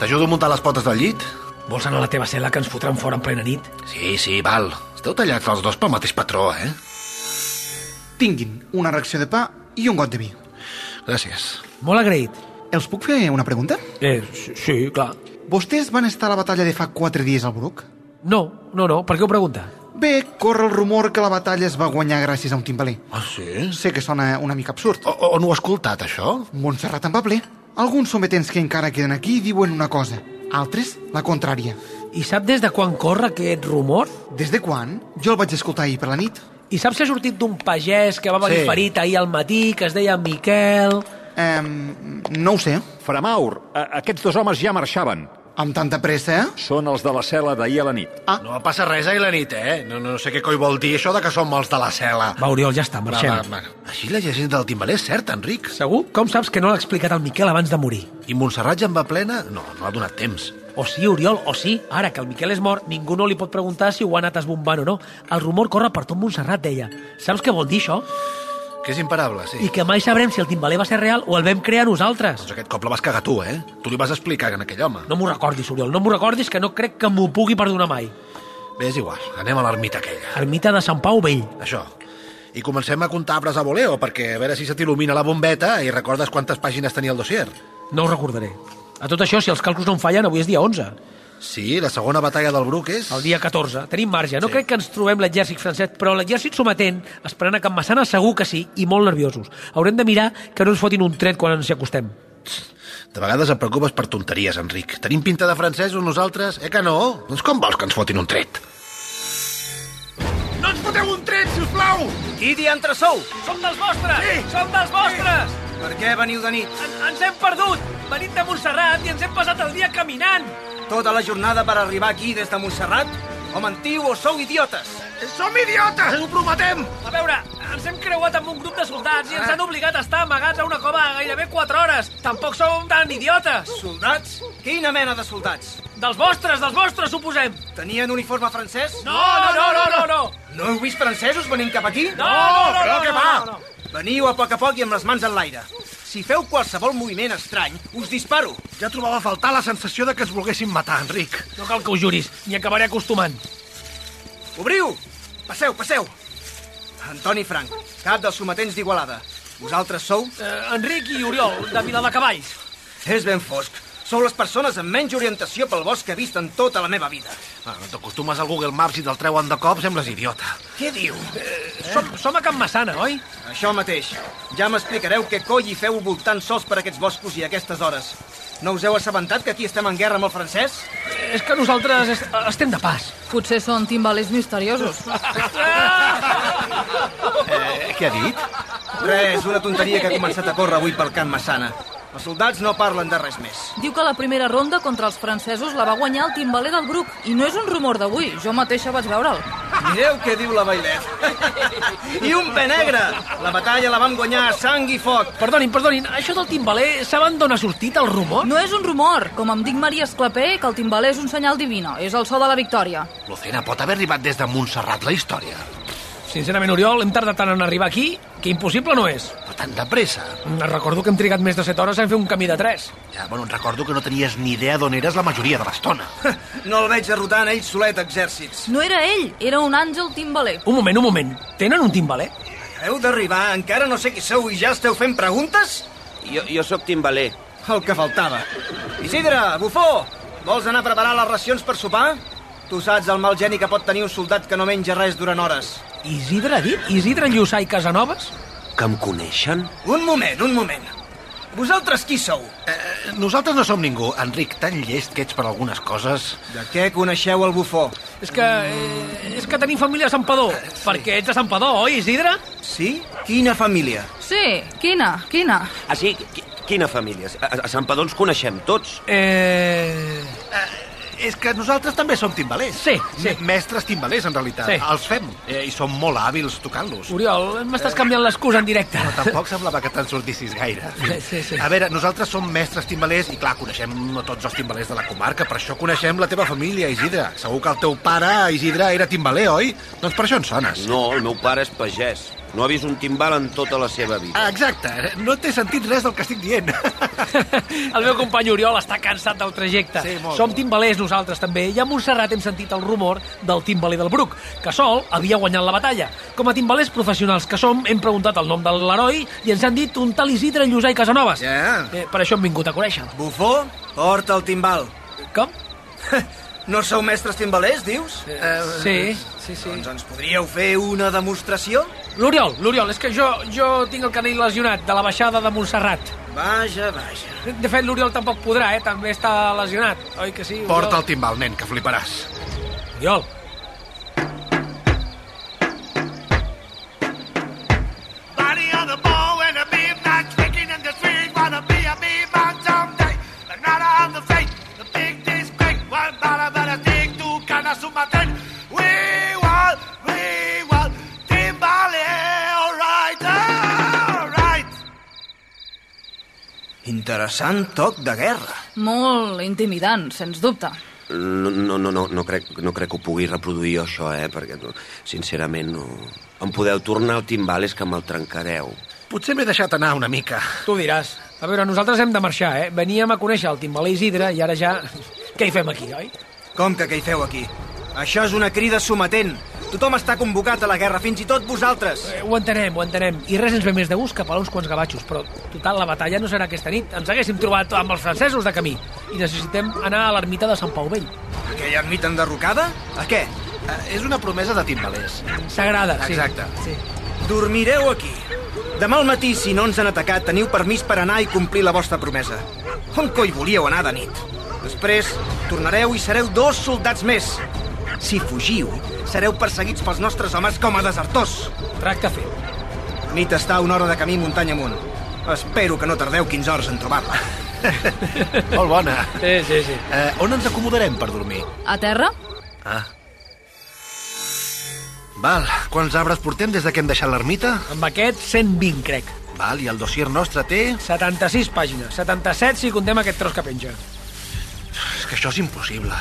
[SPEAKER 2] T'ajudo a muntar les potes del llit?
[SPEAKER 3] Vols anar a la teva cel·la que ens fotran fora en plena nit?
[SPEAKER 2] Sí, sí, val. Esteu tallats els dos pel mateix patró, eh?
[SPEAKER 13] Tinguin una ració de pa i un got de vi.
[SPEAKER 2] Gràcies.
[SPEAKER 3] Molt agraït.
[SPEAKER 13] Els puc fer una pregunta?
[SPEAKER 3] Eh, sí, sí, clar.
[SPEAKER 13] Vostès van estar a la batalla de fa 4 dies al Bruc?
[SPEAKER 3] No, no, no, per què ho pregunta?
[SPEAKER 13] Bé, corre el rumor que la batalla es va guanyar gràcies a un timbaler.
[SPEAKER 2] Ah, sí?
[SPEAKER 13] Sé que sona una mica absurd.
[SPEAKER 2] O, on ho he escoltat, això?
[SPEAKER 13] Montserrat en va ple. Alguns sometents que encara queden aquí diuen una cosa, altres la contrària.
[SPEAKER 3] I sap des de quan corre aquest rumor?
[SPEAKER 13] Des de quan? Jo el vaig escoltar ahir per la nit.
[SPEAKER 3] I sap si ha sortit d'un pagès que va venir
[SPEAKER 2] Sí.
[SPEAKER 3] sí. ferit ahir al matí, que es deia Miquel...
[SPEAKER 13] Ehm, no ho sé.
[SPEAKER 12] Framaur, a- aquests dos homes ja marxaven.
[SPEAKER 13] Amb tanta pressa, eh?
[SPEAKER 12] Són els de la cel·la d'ahir a la nit.
[SPEAKER 2] No passa res ahir la nit, eh? No, no sé què coi vol dir això de que som els de la cel·la.
[SPEAKER 3] Va, Oriol, ja està, marxem.
[SPEAKER 2] Va, va, va. Així la llegenda del timbaler és certa, Enric.
[SPEAKER 3] Segur? Com saps que no l'ha explicat el Miquel abans de morir?
[SPEAKER 2] I Montserrat ja en va plena? No, no ha donat temps.
[SPEAKER 3] O sí, Oriol, o sí. Ara que el Miquel és mort, ningú no li pot preguntar si ho ha anat esbombant o no. El rumor corre per tot Montserrat, deia. Saps què vol dir això?
[SPEAKER 2] Que és imparable, sí.
[SPEAKER 3] I que mai sabrem si el timbaler va ser real o el vam crear nosaltres.
[SPEAKER 2] Doncs aquest cop la vas cagar tu, eh? Tu li vas explicar a aquell home.
[SPEAKER 3] No m'ho recordis, Oriol, no m'ho recordis, que no crec que m'ho pugui perdonar mai.
[SPEAKER 2] Bé, és igual. Anem a l'ermita aquella.
[SPEAKER 3] Ermita de Sant Pau Vell.
[SPEAKER 2] Això. I comencem a comptar arbres a voleo, perquè a veure si se t'il·lumina la bombeta i recordes quantes pàgines tenia el dossier.
[SPEAKER 3] No ho recordaré. A tot això, si els càlculs no em fallen, avui és dia 11.
[SPEAKER 2] Sí, la segona batalla del Bruc és...
[SPEAKER 3] El dia 14. Tenim marge. No
[SPEAKER 2] Sí.
[SPEAKER 3] sí. crec que ens trobem l'exèrcit francès, però l'exèrcit sometent, esperant a Can Massana, segur que sí, i molt nerviosos. Haurem de mirar que no ens fotin un tret quan ens hi acostem.
[SPEAKER 2] De vegades et preocupes per tonteries, Enric. Tenim pinta de francesos nosaltres? Eh que no? Doncs com vols que ens fotin un tret?
[SPEAKER 4] No ens foteu un tret, si us plau!
[SPEAKER 5] Qui diantre sou? Som dels vostres!
[SPEAKER 4] Sí.
[SPEAKER 5] Som dels vostres!
[SPEAKER 4] Per què veniu de nit?
[SPEAKER 5] En, ens hem perdut! Venim de Montserrat i ens hem passat el dia caminant!
[SPEAKER 4] Tota la jornada per arribar aquí des de Montserrat? O mentiu o sou idiotes? Som idiotes, ho prometem!
[SPEAKER 5] A veure, ens hem creuat amb un grup de soldats i ens han obligat a estar amagats a una cova gairebé 4 hores. Tampoc som tan idiotes!
[SPEAKER 4] Soldats? Quina mena de soldats?
[SPEAKER 5] Dels vostres, dels vostres, suposem!
[SPEAKER 4] Tenien uniforme francès?
[SPEAKER 5] No, no, no, no, no, no!
[SPEAKER 4] No heu vist francesos venint cap aquí?
[SPEAKER 5] No, no, no,
[SPEAKER 4] però
[SPEAKER 5] no,
[SPEAKER 4] que
[SPEAKER 5] no,
[SPEAKER 4] va!
[SPEAKER 5] no, no.
[SPEAKER 4] Veniu a poc a poc i amb les mans en l'aire. Si feu qualsevol moviment estrany, us disparo.
[SPEAKER 2] Ja trobava a faltar la sensació de que ens volguessin matar, Enric.
[SPEAKER 3] No cal que ho juris, m'hi acabaré acostumant.
[SPEAKER 4] Obriu! Passeu, passeu! Antoni Frank, cap dels sometents d'Igualada. Vosaltres sou?
[SPEAKER 5] Eh, Enric i Oriol, de Viladecavalls.
[SPEAKER 4] És ben fosc. Sou les persones amb menys orientació pel bosc que he vist en tota la meva vida.
[SPEAKER 2] Ah, no t'acostumes al Google Maps i te'l treuen de cop, sembles idiota.
[SPEAKER 4] Què diu?
[SPEAKER 3] Eh, Som, som a Can Massana, oi?
[SPEAKER 4] Això mateix. Ja m'explicareu què coi hi feu voltant sols per aquests boscos i a aquestes hores. No us heu assabentat que aquí estem en guerra amb el francès?
[SPEAKER 3] Eh, És que nosaltres est estem de pas.
[SPEAKER 14] Potser són timbalers misteriosos.
[SPEAKER 2] Eh, què ha dit?
[SPEAKER 4] Res, una tonteria que ha començat a córrer avui pel camp Massana. Els soldats no parlen de res més.
[SPEAKER 14] Diu que la primera ronda contra els francesos la va guanyar el timbaler del Bruc. I no és un rumor d'avui, jo mateixa vaig veure'l.
[SPEAKER 4] Mireu què diu la Bailet. I un pe negre! La batalla la vam guanyar a sang i foc.
[SPEAKER 3] Perdonin, perdonin, això del timbaler, saben d'on ha sortit el rumor?
[SPEAKER 14] No és un rumor, com em dic Maria Esclapé, que el timbaler és un senyal divino, és el so de la victòria.
[SPEAKER 2] Lucena, pot haver arribat des de Montserrat la història.
[SPEAKER 3] Sincerament, Oriol, hem tardat tant en arribar aquí que impossible no és.
[SPEAKER 2] Però tant de pressa.
[SPEAKER 3] Mm, Recordo que hem trigat més de 7 hores en fer un camí de 3.
[SPEAKER 2] Ja, bueno, et recordo que no tenies ni idea d'on eres la majoria de l'estona.
[SPEAKER 4] No el veig derrotant ell solet exèrcits.
[SPEAKER 14] No era ell, era un àngel timbaler.
[SPEAKER 3] Un moment, un moment. Tenen un timbaler?
[SPEAKER 4] Heu d'arribar, encara no sé qui sou i ja esteu fent preguntes?
[SPEAKER 13] Jo, jo sóc timbaler.
[SPEAKER 4] El que faltava. Isidre, bufó, vols anar a preparar les racions per sopar? Tu saps el mal geni que pot tenir un soldat que no menja res durant hores.
[SPEAKER 15] Isidre ha dit? Isidre Lluçà i Casanovas?
[SPEAKER 16] Que em coneixen?
[SPEAKER 4] Un moment, un moment. Vosaltres qui sou?
[SPEAKER 9] Eh, nosaltres no som ningú. Enric, tan llest que ets per algunes coses...
[SPEAKER 4] De què coneixeu el bufó?
[SPEAKER 3] És que... Eh, és que tenim família a Sant Padó.
[SPEAKER 2] Ah,
[SPEAKER 3] Sí. Perquè ets de Sant Padó, oi, Isidre?
[SPEAKER 4] Sí? Quina família?
[SPEAKER 14] Sí, quina, quina?
[SPEAKER 8] Ah, sí? Qui- Quina família? A, a Sant Padó ens coneixem tots.
[SPEAKER 9] Eh... És que nosaltres també som timbalers.
[SPEAKER 3] Sí, sí.
[SPEAKER 9] Mestres timbalers, en realitat.
[SPEAKER 3] Sí.
[SPEAKER 9] Els fem. Eh, I som molt hàbils tocant-los.
[SPEAKER 3] Oriol, m'estàs canviant l'excusa en directe.
[SPEAKER 9] No, tampoc semblava que te'n sortissis gaire.
[SPEAKER 3] Sí, sí.
[SPEAKER 9] A veure, nosaltres som mestres timbalers i, clar, coneixem no tots els timbalers de la comarca. Per això coneixem la teva família, Isidre. Segur que el teu pare, Isidre, era timbaler, oi? Doncs per això ens sones.
[SPEAKER 8] No, el meu pare és pagès. No ha vist un timbal en tota la seva vida.
[SPEAKER 9] Ah, exacte. No t'he sentit res del que estic dient.
[SPEAKER 3] El meu company Oriol està cansat del trajecte.
[SPEAKER 9] Sí, molt,
[SPEAKER 3] Som
[SPEAKER 9] molt.
[SPEAKER 3] timbalers nosaltres també, i a Montserrat hem sentit el rumor del timbaler del Bruc, que Sol havia guanyat la batalla. Com a timbalers professionals que som, hem preguntat el nom de l'heroi i ens han dit un tal Isidre Llusà i Casanovas.
[SPEAKER 4] Ja.
[SPEAKER 3] Eh, per això hem vingut a conèixer.
[SPEAKER 4] Bufó, porta el timbal.
[SPEAKER 3] Com?
[SPEAKER 4] No sou mestres timbalers, dius? Eh,
[SPEAKER 3] sí, sí, sí.
[SPEAKER 4] Doncs ens podríeu fer una demostració?
[SPEAKER 3] L'Oriol, l'Oriol, és que jo, jo tinc el canell lesionat de la baixada de Montserrat.
[SPEAKER 4] Vaja, vaja.
[SPEAKER 3] De fet, l'Oriol tampoc podrà, eh? També està lesionat, oi que sí? Oriol?
[SPEAKER 9] Porta el timbal, nen, que fliparàs.
[SPEAKER 3] Oriol.
[SPEAKER 6] Body on the ball and a beanbag kicking in the street. Wanna be a beanbag someday, but not on the fate. The big disgrace. One bada bada dig, two canas to my ten. We want, we want Timbale, alright, alright.
[SPEAKER 4] Interessant toc de guerra.
[SPEAKER 14] Molt intimidant, sens dubte.
[SPEAKER 8] No, no, no, no, no, crec, no crec que ho pugui reproduir jo, això, eh? Perquè, no, sincerament, no... Em podeu tornar el timbal, és que me'l trencareu.
[SPEAKER 9] Potser m'he deixat anar una mica.
[SPEAKER 3] Tu diràs. A veure, nosaltres hem de marxar, eh? Veníem a conèixer el timbaler Isidre i ara ja... Què hi fem aquí, oi?
[SPEAKER 4] Com que què hi feu aquí? Això és una crida sometent. Tothom està convocat a la guerra, fins i tot vosaltres.
[SPEAKER 3] Eh, Ho entenem, ho entenem. I res ens ve més de gust que pelar uns quants gavatxos, però, total, la batalla no serà aquesta nit. Ens haguéssim trobat amb els francesos de camí i necessitem anar a l'ermita de Sant Pau Vell.
[SPEAKER 4] Aquella ermita enderrocada? A què?
[SPEAKER 9] Eh, És una promesa de timbalers.
[SPEAKER 3] S'agrada, sí.
[SPEAKER 9] Exacte.
[SPEAKER 3] Sí.
[SPEAKER 4] Dormireu aquí. Demà al matí, si no ens han atacat, teniu permís per anar i complir la vostra promesa. On coi volíeu anar de nit? Després tornareu i sereu dos soldats més. Si fugiu, sereu perseguits pels nostres homes com a desertors.
[SPEAKER 3] Tracte fet.
[SPEAKER 4] La nit està a una hora de camí muntanya amunt. Espero que no tardeu 15 hores en trobar-la.
[SPEAKER 9] Molt bona.
[SPEAKER 3] Sí, sí, sí.
[SPEAKER 9] Eh, on ens acomodarem per dormir?
[SPEAKER 14] A terra?
[SPEAKER 9] Ah. Val, quants arbres portem des de que hem deixat l'ermita?
[SPEAKER 3] Amb aquest, 120, crec.
[SPEAKER 9] Val, i el dossier nostre té...
[SPEAKER 3] 76 pàgines, 77 si contem aquest tros que penja.
[SPEAKER 9] És que això és impossible.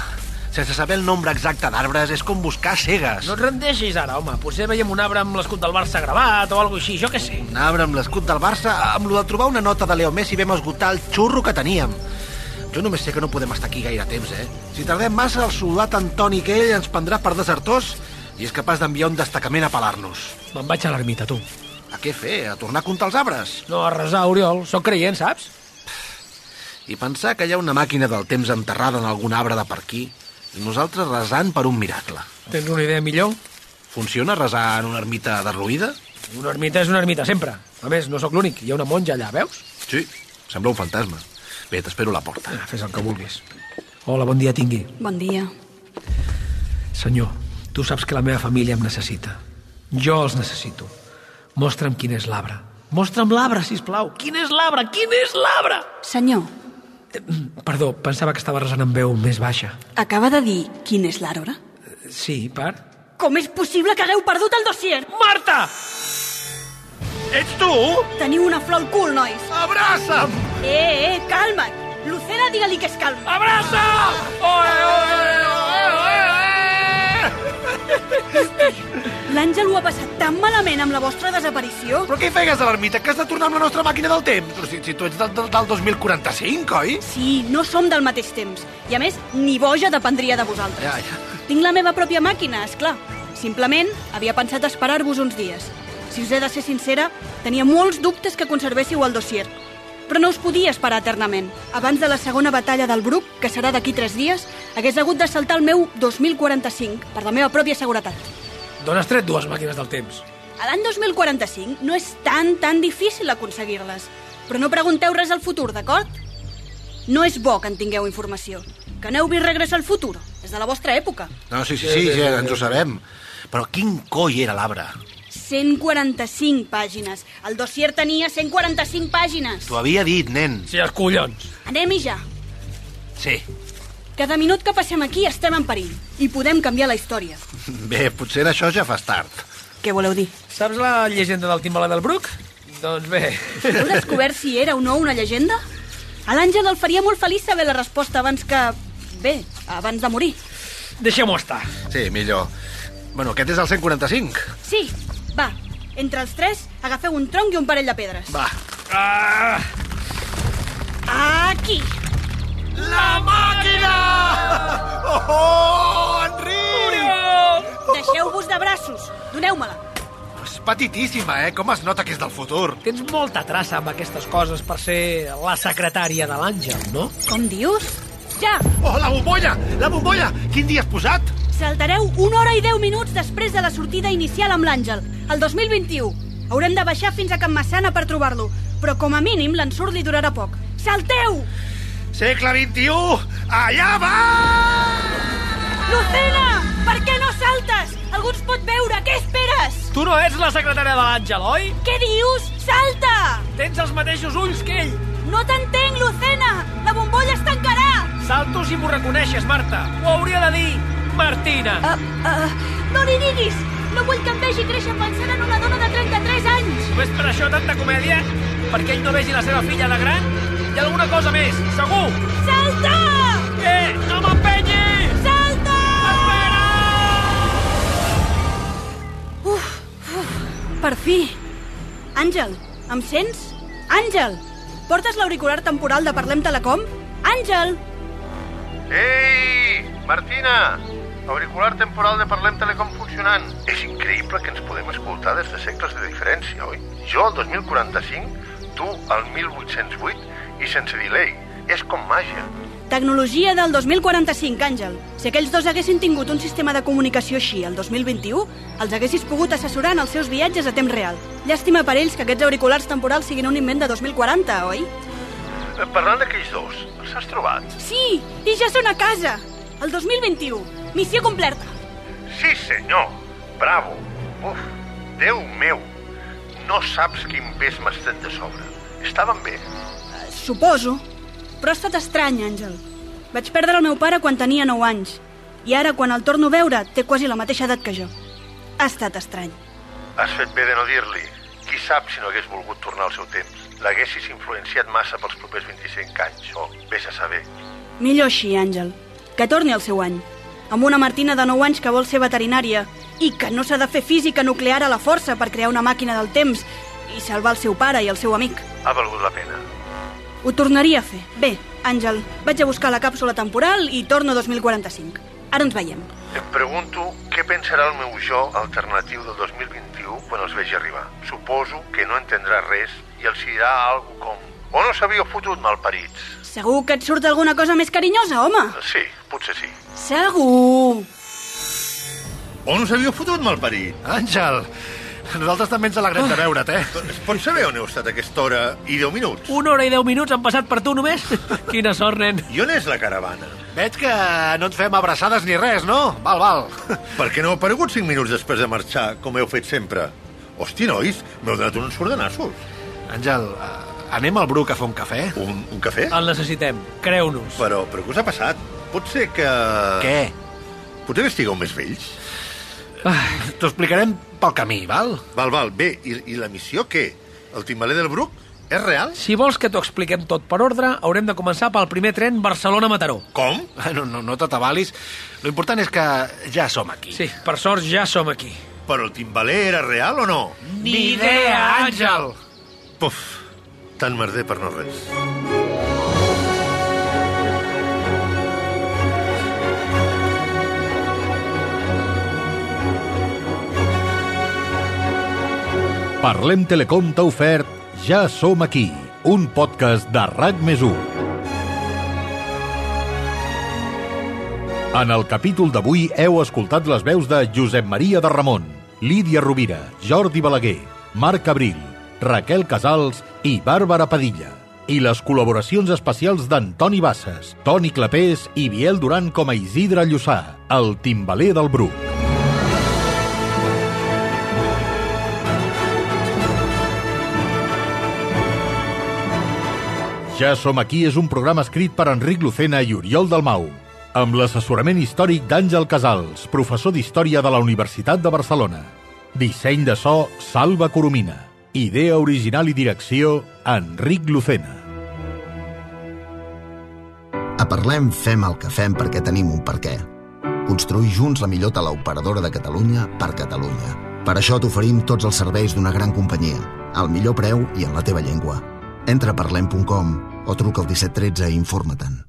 [SPEAKER 9] Sense saber el nombre exacte d'arbres és com buscar cegues.
[SPEAKER 3] No et rendeixis ara, home. Potser veiem un arbre amb l'escut del Barça gravat o alguna així, jo què sé.
[SPEAKER 9] Un arbre amb l'escut del Barça, amb lo de trobar una nota de Leo Messi vam esgotar el xurro que teníem. Jo només sé que no podem estar aquí gaire temps, eh? Si tardem massa, el soldat Antoni que ell ens prendrà per desertors i és capaç d'enviar un destacament a pelar-nos.
[SPEAKER 3] Me'n vaig a l'ermita, tu.
[SPEAKER 9] A què fer? A tornar a comptar els arbres?
[SPEAKER 3] No, a resar, Oriol. Sóc creient, saps?
[SPEAKER 9] I pensar que hi ha una màquina del temps enterrada en algun arbre de per aquí i nosaltres resant per un miracle.
[SPEAKER 3] Tens una idea millor?
[SPEAKER 9] Funciona resar en una ermita derruïda?
[SPEAKER 3] Una ermita és una ermita, sempre. A més, no sóc l'únic. Hi ha una monja allà, veus?
[SPEAKER 9] Sí, sembla un fantasma. Bé, t'espero a la porta.
[SPEAKER 3] Ah, fes el que vulguis. Hola, bon dia tingui.
[SPEAKER 11] Bon dia.
[SPEAKER 3] Senyor, tu saps que la meva família em necessita. Jo els necessito. Mostra'm quin és l'arbre. Mostra'm l'arbre, si plau. Quin és l'arbre? Quin és l'arbre?
[SPEAKER 11] Senyor,
[SPEAKER 3] Perdó, pensava que estava resant amb veu més baixa.
[SPEAKER 11] acaba de dir quin és l'arbre?
[SPEAKER 3] Sí, per?
[SPEAKER 11] Com és possible que hagueu perdut el dossier?
[SPEAKER 3] Marta!
[SPEAKER 11] Ets tu? Teniu una flor al cul, nois.
[SPEAKER 9] Abraça'm!
[SPEAKER 11] Eh, eh, calma't. Lucena, digue-li que es calma. Ah.
[SPEAKER 3] Abraça! Oe, oe, oe,
[SPEAKER 11] L'Àngel ho ha passat tan malament amb la vostra desaparició.
[SPEAKER 9] Però què hi feies a l'ermita? Que has de tornar amb la nostra màquina del temps? Però Si, si tu ets del, del, del 2045, oi?
[SPEAKER 11] Sí, no som del mateix temps. I a més, ni boja dependria de vosaltres.
[SPEAKER 9] Ja, ja.
[SPEAKER 11] Tinc la meva pròpia màquina, és clar. Simplement havia pensat esperar-vos uns dies. Si us he de ser sincera, tenia molts dubtes que conservéssiu el dossier. Però no us podia esperar eternament. Abans de la segona batalla del Bruc, que serà d'aquí tres dies, hagués hagut de saltar el meu 2045, per la meva pròpia seguretat.
[SPEAKER 5] D'on has tret dues màquines del temps?
[SPEAKER 11] A l'any 2045 no és tan, tan difícil aconseguir-les. Però no pregunteu res al futur, d'acord? No és bo que en tingueu informació. Que n'heu vist regressar al futur. És de la vostra època.
[SPEAKER 4] No, sí, sí, sí, sí, ja ens ho sabem. Però quin coi era l'arbre?
[SPEAKER 11] 145 pàgines. El dossier tenia 145 pàgines.
[SPEAKER 4] T'ho havia dit, nen.
[SPEAKER 5] Sí, els collons.
[SPEAKER 11] Anem-hi ja.
[SPEAKER 4] Sí.
[SPEAKER 11] Cada minut que passem aquí estem en perill i podem canviar la història.
[SPEAKER 4] Bé, potser en això ja fas tard.
[SPEAKER 11] Què voleu dir?
[SPEAKER 5] Saps la llegenda del timbaler del Bruc? Doncs bé...
[SPEAKER 11] Heu descobert si era o no una llegenda? A l'Àngel el faria molt feliç saber la resposta abans que... Bé, abans de morir.
[SPEAKER 5] Deixem-ho estar.
[SPEAKER 4] Sí, millor. Bueno, aquest és el 145.
[SPEAKER 11] Sí, va, entre els tres agafeu un tronc i un parell de pedres.
[SPEAKER 4] Va.
[SPEAKER 5] Ah!
[SPEAKER 11] Aquí!
[SPEAKER 17] La màquina! Oh, oh Enric!
[SPEAKER 11] Deixeu-vos de braços. Doneu-me-la.
[SPEAKER 4] És petitíssima, eh? Com es nota que és del futur.
[SPEAKER 5] Tens molta traça amb aquestes coses per ser la secretària de l'Àngel, no?
[SPEAKER 11] Com dius? Ja!
[SPEAKER 4] Oh, la bombolla! La bombolla! Quin dia has posat?
[SPEAKER 11] Saltareu una hora i deu minuts després de la sortida inicial amb l'Àngel, el 2021. Haurem de baixar fins a Can Massana per trobar-lo, però com a mínim l'ensurt li durarà poc. Salteu!
[SPEAKER 17] Segle XXI, allà va!
[SPEAKER 11] Lucena! Per què no saltes? Algú ens pot veure, què esperes?
[SPEAKER 5] Tu no ets la secretària de l'Àngel, oi?
[SPEAKER 11] Què dius? Salta!
[SPEAKER 5] Tens els mateixos ulls que ell.
[SPEAKER 11] No t'entenc, Lucena! La bombolla es tancarà!
[SPEAKER 5] Salto si m'ho reconeixes, Marta. Ho hauria de dir Martina.
[SPEAKER 11] Uh, uh, no li diguis! No vull que em vegi créixer pensant en una dona de 33 anys!
[SPEAKER 5] Només per això tanta comèdia? Perquè ell no vegi la seva filla de gran? Hi ha alguna cosa més, segur!
[SPEAKER 11] Salta!
[SPEAKER 5] Eh, no m'empenyis!
[SPEAKER 11] Salta! Uf, uf, per fi! Àngel, em sents? Àngel! Portes l'auricular temporal de Parlem Telecom? Àngel!
[SPEAKER 10] Ei, Martina! Auricular temporal de Parlem Telecom funcionant. És increïble que ens podem escoltar des de segles de diferència, oi? Jo al 2045, tu al 1808 i sense delay. És com màgia.
[SPEAKER 11] Tecnologia del 2045, Àngel. Si aquells dos haguessin tingut un sistema de comunicació així el 2021, els haguessis pogut assessorar en els seus viatges a temps real. Llàstima per ells que aquests auriculars temporals siguin un invent de 2040, oi?
[SPEAKER 10] Eh, Parlant d'aquells dos, els has trobat?
[SPEAKER 11] Sí, i ja són a casa! El 2021, missió completa.
[SPEAKER 10] Sí, senyor. Bravo. Uf, Déu meu. No saps quin pes m'has tret de sobre. Estàvem bé.
[SPEAKER 11] Suposo. Però ha estat estrany, Àngel. Vaig perdre el meu pare quan tenia 9 anys. I ara, quan el torno a veure, té quasi la mateixa edat que jo. Ha estat estrany.
[SPEAKER 10] Has fet bé de no dir-li. Qui sap si no hagués volgut tornar al seu temps. L'haguessis influenciat massa pels propers 25 anys, o vés a saber.
[SPEAKER 11] Millor així, Àngel. Que torni al seu any. Amb una Martina de 9 anys que vol ser veterinària i que no s'ha de fer física nuclear a la força per crear una màquina del temps i salvar el seu pare i el seu amic.
[SPEAKER 10] Ha valgut la pena.
[SPEAKER 11] Ho tornaria a fer. Bé, Àngel, vaig a buscar la càpsula temporal i torno a 2045. Ara ens veiem.
[SPEAKER 10] Em pregunto què pensarà el meu jo alternatiu del 2021 quan els vegi arribar. Suposo que no entendrà res i els dirà algo com... O no s'havia fotut malparits.
[SPEAKER 11] Segur que et surt alguna cosa més carinyosa, home?
[SPEAKER 10] Sí, potser sí.
[SPEAKER 11] Segur!
[SPEAKER 10] O no s'havia fotut malparit.
[SPEAKER 4] Àngel, nosaltres també ens alegrem
[SPEAKER 5] Ah.
[SPEAKER 4] de veure't, eh?
[SPEAKER 10] Es pot saber on heu estat aquesta hora i 10 minuts?
[SPEAKER 5] Una hora i deu minuts han passat per tu només? Quina sort, nen.
[SPEAKER 10] I on és la caravana?
[SPEAKER 4] Veig que no ens fem abraçades ni res, no? Val, val.
[SPEAKER 10] Per què no heu aparegut 5 minuts després de marxar, com heu fet sempre? Hosti, nois, m'heu donat uns sordenassos.
[SPEAKER 4] Àngel, eh, anem al Bruc a fer un cafè?
[SPEAKER 10] Un, un cafè?
[SPEAKER 5] El necessitem, creu-nos.
[SPEAKER 10] Però, però què us ha passat? Pot ser que...
[SPEAKER 4] Què?
[SPEAKER 10] Potser que estigueu més vells?
[SPEAKER 4] T'ho explicarem pel camí, val?
[SPEAKER 10] Val, val, bé, i, i la missió què? El timbaler del Bruc? És real?
[SPEAKER 5] Si vols que t'ho expliquem tot per ordre, haurem de començar pel primer tren Barcelona-Mataró.
[SPEAKER 10] Com?
[SPEAKER 4] Ah, No, no, no t'atabalis. Lo important és que ja som aquí.
[SPEAKER 5] Sí, per sort ja som aquí.
[SPEAKER 10] Però el timbaler era real o no?
[SPEAKER 5] Ni idea,
[SPEAKER 4] Àngel!
[SPEAKER 10] Puf, tan merder per no res.
[SPEAKER 1] Parlem Telecom t'ha ofert Ja som aquí, un podcast de RAC més 1. En el capítol d'avui heu escoltat les veus de Josep Maria de Ramon, Lídia Rovira, Jordi Balaguer, Marc Abril, Raquel Casals i Bàrbara Padilla. I les col·laboracions especials d'Antoni Bassas, Toni Clapés i Biel Duran com a Isidre Llussà, el timbaler del Bruc. Ja som aquí és un programa escrit per Enric Lucena i Oriol Dalmau, amb l'assessorament històric d'Àngel Casals, professor d'Història de la Universitat de Barcelona. Disseny de so, Salva Coromina. Idea original i direcció, Enric Lucena.
[SPEAKER 6] A Parlem fem el que fem perquè tenim un per què. Construir junts la millor teleoperadora de Catalunya per Catalunya. Per això t'oferim tots els serveis d'una gran companyia, al millor preu i en la teva llengua. Entra a parlem.com o truca al 1713 i informa-te'n.